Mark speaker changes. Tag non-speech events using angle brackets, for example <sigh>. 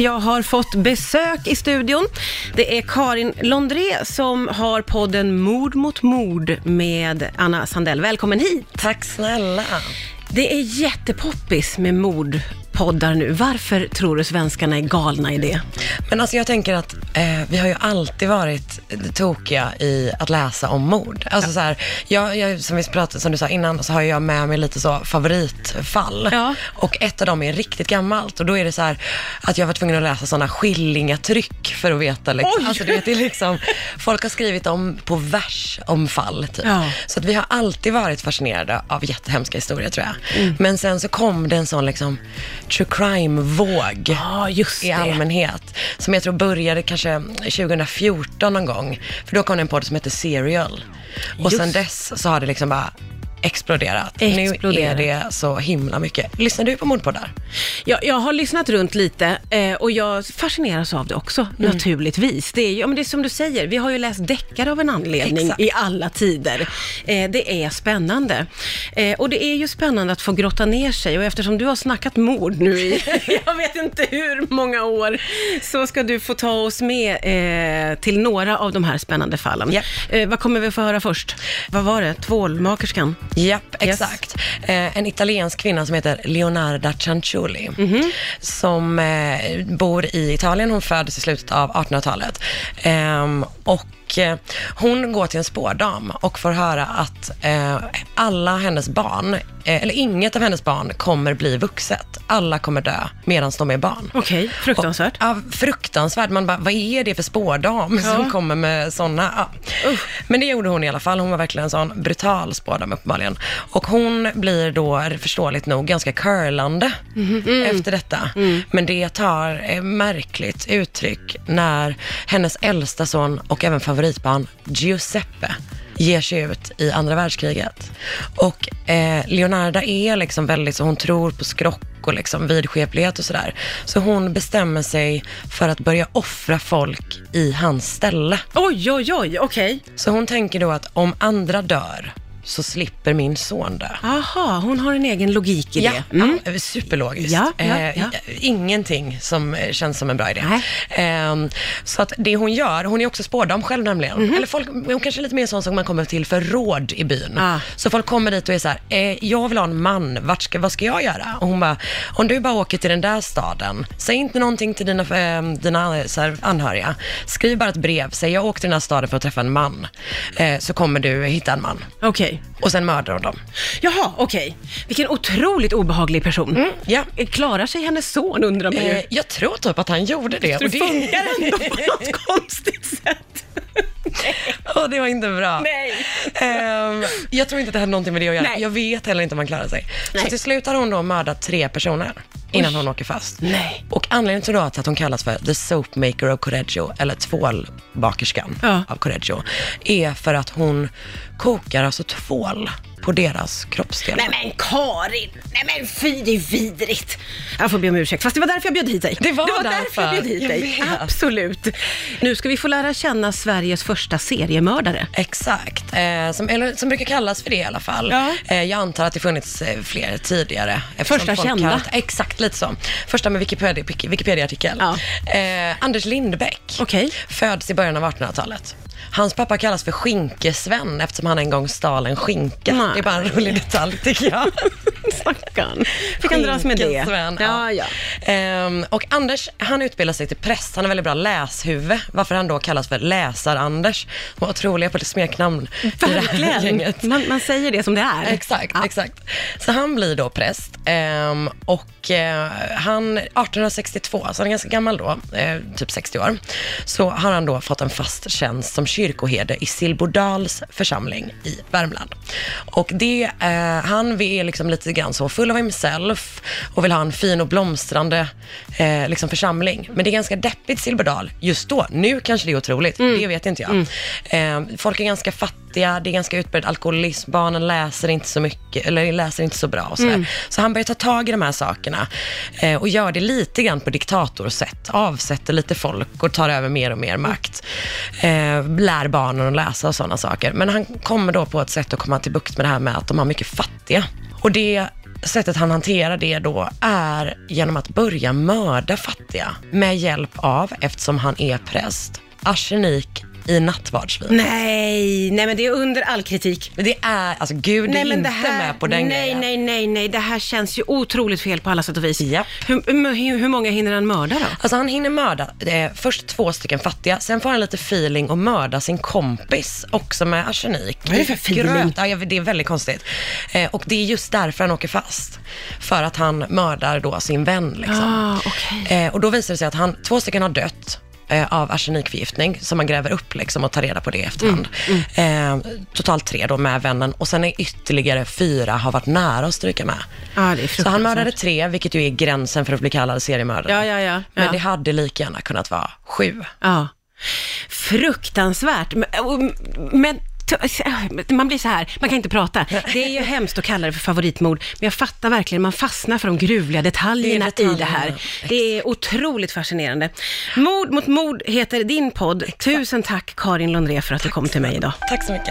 Speaker 1: Jag har fått besök i studion. Det är Karin Londré som har podden Mord mot mord med Anna Sandell. Välkommen hit!
Speaker 2: Tack snälla.
Speaker 1: Det är jättepoppis med mordpoddar nu. Varför tror du svenskarna är galna i det?
Speaker 2: Men alltså jag tänker att eh, vi har ju alltid varit tokiga i att läsa om mord. Alltså så här, jag, jag, som, vi pratade, som du sa innan så har jag med mig lite så favoritfall.
Speaker 1: Ja.
Speaker 2: Och ett av dem är riktigt gammalt och då är det så här att jag var tvungen att läsa sådana skillingatryck för att veta. Liksom.
Speaker 1: Oj!
Speaker 2: Alltså, du vet, det är liksom, folk har skrivit om på vers om fall. Typ.
Speaker 1: Ja.
Speaker 2: Så att vi har alltid varit fascinerade av jättehemska historier tror jag.
Speaker 1: Mm.
Speaker 2: Men sen så kom det en sån liksom true crime-våg
Speaker 1: Ja, just
Speaker 2: i allmänhet. Som jag tror började kanske 2014 någon gång. För då kom det en podd som hette Serial. Och
Speaker 1: Just
Speaker 2: sen dess så har det liksom bara exploderat.
Speaker 1: Exploderat.
Speaker 2: Nu är det så himla mycket. Lyssnar du på mordpoddar?
Speaker 1: Jag, jag har lyssnat runt lite eh, och jag fascineras av det också,
Speaker 2: Mm.
Speaker 1: naturligtvis. Det är ju, ja, men det är som du säger, vi har ju läst deckare av en anledning
Speaker 2: Exakt.
Speaker 1: i alla tider. Eh, det är spännande. Eh, och det är ju spännande att få grotta ner sig och eftersom du har snackat mord nu i, <laughs> jag vet inte hur många år, så ska du få ta oss med eh, till några av de här spännande fallen.
Speaker 2: Ja.
Speaker 1: Eh, vad kommer vi få höra först? Vad var det? Tvålmakerskan?
Speaker 2: Japp,
Speaker 1: Yes.
Speaker 2: exakt. Eh, en italiensk kvinna som heter Leonarda Cianciulli, som eh, bor i Italien. Hon föddes i slutet av 1800-talet. Ehm, och eh, hon går till en spårdam och får höra att eh, alla hennes barn, eh, eller inget av hennes barn kommer bli vuxet. Alla kommer dö medan de är barn.
Speaker 1: Okej, fruktansvärt.
Speaker 2: Och, ja, fruktansvärt. Man bara, vad är det för spårdam
Speaker 1: Ja.
Speaker 2: som kommer med sådana? Ja. Men det gjorde hon i alla fall. Hon var verkligen en sån brutal spårdam uppenbarligen. Och hon blir då förståeligt nog ganska curlande
Speaker 1: Mm-hmm.
Speaker 2: efter detta.
Speaker 1: Mm.
Speaker 2: Men det tar eh, märkligt uttryck när hennes äldsta son och även favoritbarn Giuseppe ger sig ut i andra världskriget. Och eh, Leonarda är liksom väldigt så, hon tror på skrock och liksom vidskeplighet och sådär. Så hon bestämmer sig för att börja offra folk i hans ställe.
Speaker 1: Oj, oj, oj, okej.
Speaker 2: Så hon tänker då att om andra dör så slipper min son dö.
Speaker 1: Aha, hon har en egen logik i
Speaker 2: Ja,
Speaker 1: det. Mm.
Speaker 2: ja, superlogiskt.
Speaker 1: Ja, ja,
Speaker 2: Eh,
Speaker 1: ja.
Speaker 2: Ingenting som eh, känns som en bra idé.
Speaker 1: Nej.
Speaker 2: Ehm, så att det hon gör, hon är också spårdam själv nämligen.
Speaker 1: Mhm.
Speaker 2: Eller folk, hon kanske är lite mer sån som man kommer till för råd i byn.
Speaker 1: Ah.
Speaker 2: Så folk kommer dit och är så här, eh, jag vill ha en man, Vart ska, vad ska jag göra? Och hon bara, om du bara åker till den där staden, säg inte någonting till dina, eh, dina eh, så här, anhöriga. Skriv bara ett brev, säg jag åker till den här staden för att träffa en man. Eh, så kommer du hitta en man.
Speaker 1: Okej.
Speaker 2: Och sen mördar hon dem.
Speaker 1: Jaha, okej. Vilken otroligt obehaglig person. Eh,
Speaker 2: Ja.
Speaker 1: Klarar sig hennes son undrar man ju.
Speaker 2: Eh, jag tror typ att han gjorde det.
Speaker 1: det
Speaker 2: och
Speaker 1: funkar ändå på <laughs> något konstigt sätt.
Speaker 2: <laughs> och det var inte bra.
Speaker 1: Nej.
Speaker 2: Ehm, jag tror inte det hade någonting med det att göra.
Speaker 1: Nej.
Speaker 2: Jag vet heller inte om han klarar sig.
Speaker 1: Nej.
Speaker 2: Så till slut har hon då mördat tre personer innan hon åker fast.
Speaker 1: Nej.
Speaker 2: Och anledningen till då att att hon kallas för the soapmaker of Correggio, eller tvålbakerskan
Speaker 1: Ja.
Speaker 2: av Correggio, är för att hon kokar alltså tvål på deras kroppsdelar.
Speaker 1: Nej men Karin! Nej men fy, det är vidrigt. Jag får be om ursäkt, fast det var därför jag bjöd hit dig.
Speaker 2: Det var
Speaker 1: därför jag bjöd
Speaker 2: därför.
Speaker 1: hit
Speaker 2: Jag
Speaker 1: dig.
Speaker 2: vet.
Speaker 1: Absolut. Nu ska vi få lära känna Sveriges första seriemördare.
Speaker 2: Exakt, eh, som, eller, som brukar kallas för det i alla fall.
Speaker 1: Ja.
Speaker 2: Eh, jag antar att det funnits eh, fler tidigare. eftersom
Speaker 1: Första
Speaker 2: folk
Speaker 1: kända.
Speaker 2: kallat- exakt, lite så. Första med Wikipedia, Wikipedia-artikel.
Speaker 1: Ja.
Speaker 2: Eh, Anders Lindbäck
Speaker 1: Okej.
Speaker 2: föds i början av 1800-talet. Hans pappa kallas för Skinkesven eftersom han en gång stal en skinka.
Speaker 1: Nej.
Speaker 2: Det är bara en rolig detalj tycker jag.
Speaker 1: <laughs> Stackarn. Vi kan dras med det.
Speaker 2: Skinkesven,
Speaker 1: Ja, ja.
Speaker 2: Ehm, och Anders, han utbildar sig till präst. Han är väldigt bra läshuvud, varför han då kallas för Läsar-Anders. Vad otroliga på det smeknamn i det här
Speaker 1: Verkligen.
Speaker 2: gänget.
Speaker 1: Man, man säger det som det är.
Speaker 2: Exakt, exakt. Så han blir då präst ehm, och eh, han, 1862, så han är ganska gammal då, eh, typ 60 år, så har han då fått en fast tjänst som kyrkoherde i Silbodals församling i Värmland. Och det, eh, han är liksom lite grann så full av himself och vill ha en fin och blomstrande eh, liksom församling. Men det är ganska deppigt Silbodal just då. Nu kanske det är otroligt, det vet inte jag. Eh, folk är ganska fattiga, det är ganska utbredd alkoholism, barnen läser inte så mycket, eller läser inte så bra och sådär. Så han börjar ta tag i de här sakerna eh, och gör det lite grann på diktatorsätt. Avsätter lite folk och tar över mer och mer makt. Eh, lär barnen att läsa och sådana saker. Men han kommer då på ett sätt att komma till bukt med det här med att de har mycket fattiga. Och det sättet han hanterar det då är genom att börja mörda fattiga med hjälp av, eftersom han är präst, arsenik i nattvardsvin.
Speaker 1: Nej, nej men det är under all kritik.
Speaker 2: Men det är, alltså gud
Speaker 1: Nej,
Speaker 2: är
Speaker 1: men
Speaker 2: inte
Speaker 1: det här,
Speaker 2: med på den
Speaker 1: nej,
Speaker 2: grejen.
Speaker 1: nej, nej, nej, det här känns ju otroligt fel på alla sätt och vis.
Speaker 2: Japp.
Speaker 1: Hur, hur, hur många hinner han mörda då?
Speaker 2: Alltså han hinner mörda eh, först två stycken fattiga, sen får han lite feeling och mörda sin kompis också med arsenik.
Speaker 1: Vad är det för feeling?
Speaker 2: Gröt. Ja, jag vet, det är väldigt konstigt. Eh, och det är just därför han åker fast. För att han mördar då sin vän liksom.
Speaker 1: Ah, okej.
Speaker 2: Eh, och då visar det sig att han, två stycken har dött eh, av arsenikförgiftning som man gräver upp liksom och tar reda på det i efterhand.
Speaker 1: Mm,
Speaker 2: Eh, totalt tre då med vännen och sen är ytterligare fyra har varit nära att stryka med.
Speaker 1: Ja, det är
Speaker 2: Så han mördade
Speaker 1: fruktansvärt.
Speaker 2: tre, vilket ju är gränsen för att bli kallad seriemördare.
Speaker 1: Ja, ja, ja.
Speaker 2: Men
Speaker 1: ja.
Speaker 2: det hade lika gärna kunnat vara sju.
Speaker 1: Ja. Fruktansvärt. Men, och- men t- äh, man blir så här, man kan inte prata. Det är ju hemskt att kalla det för favoritmord, men jag fattar verkligen, man fastnar för de gruvliga detaljerna,
Speaker 2: Det är detaljerna,
Speaker 1: i det här. Det är otroligt fascinerande. Mord mot mord heter din podd. Tusen tack Karin Lundré för att du kom till mig idag.
Speaker 2: Tack så mycket.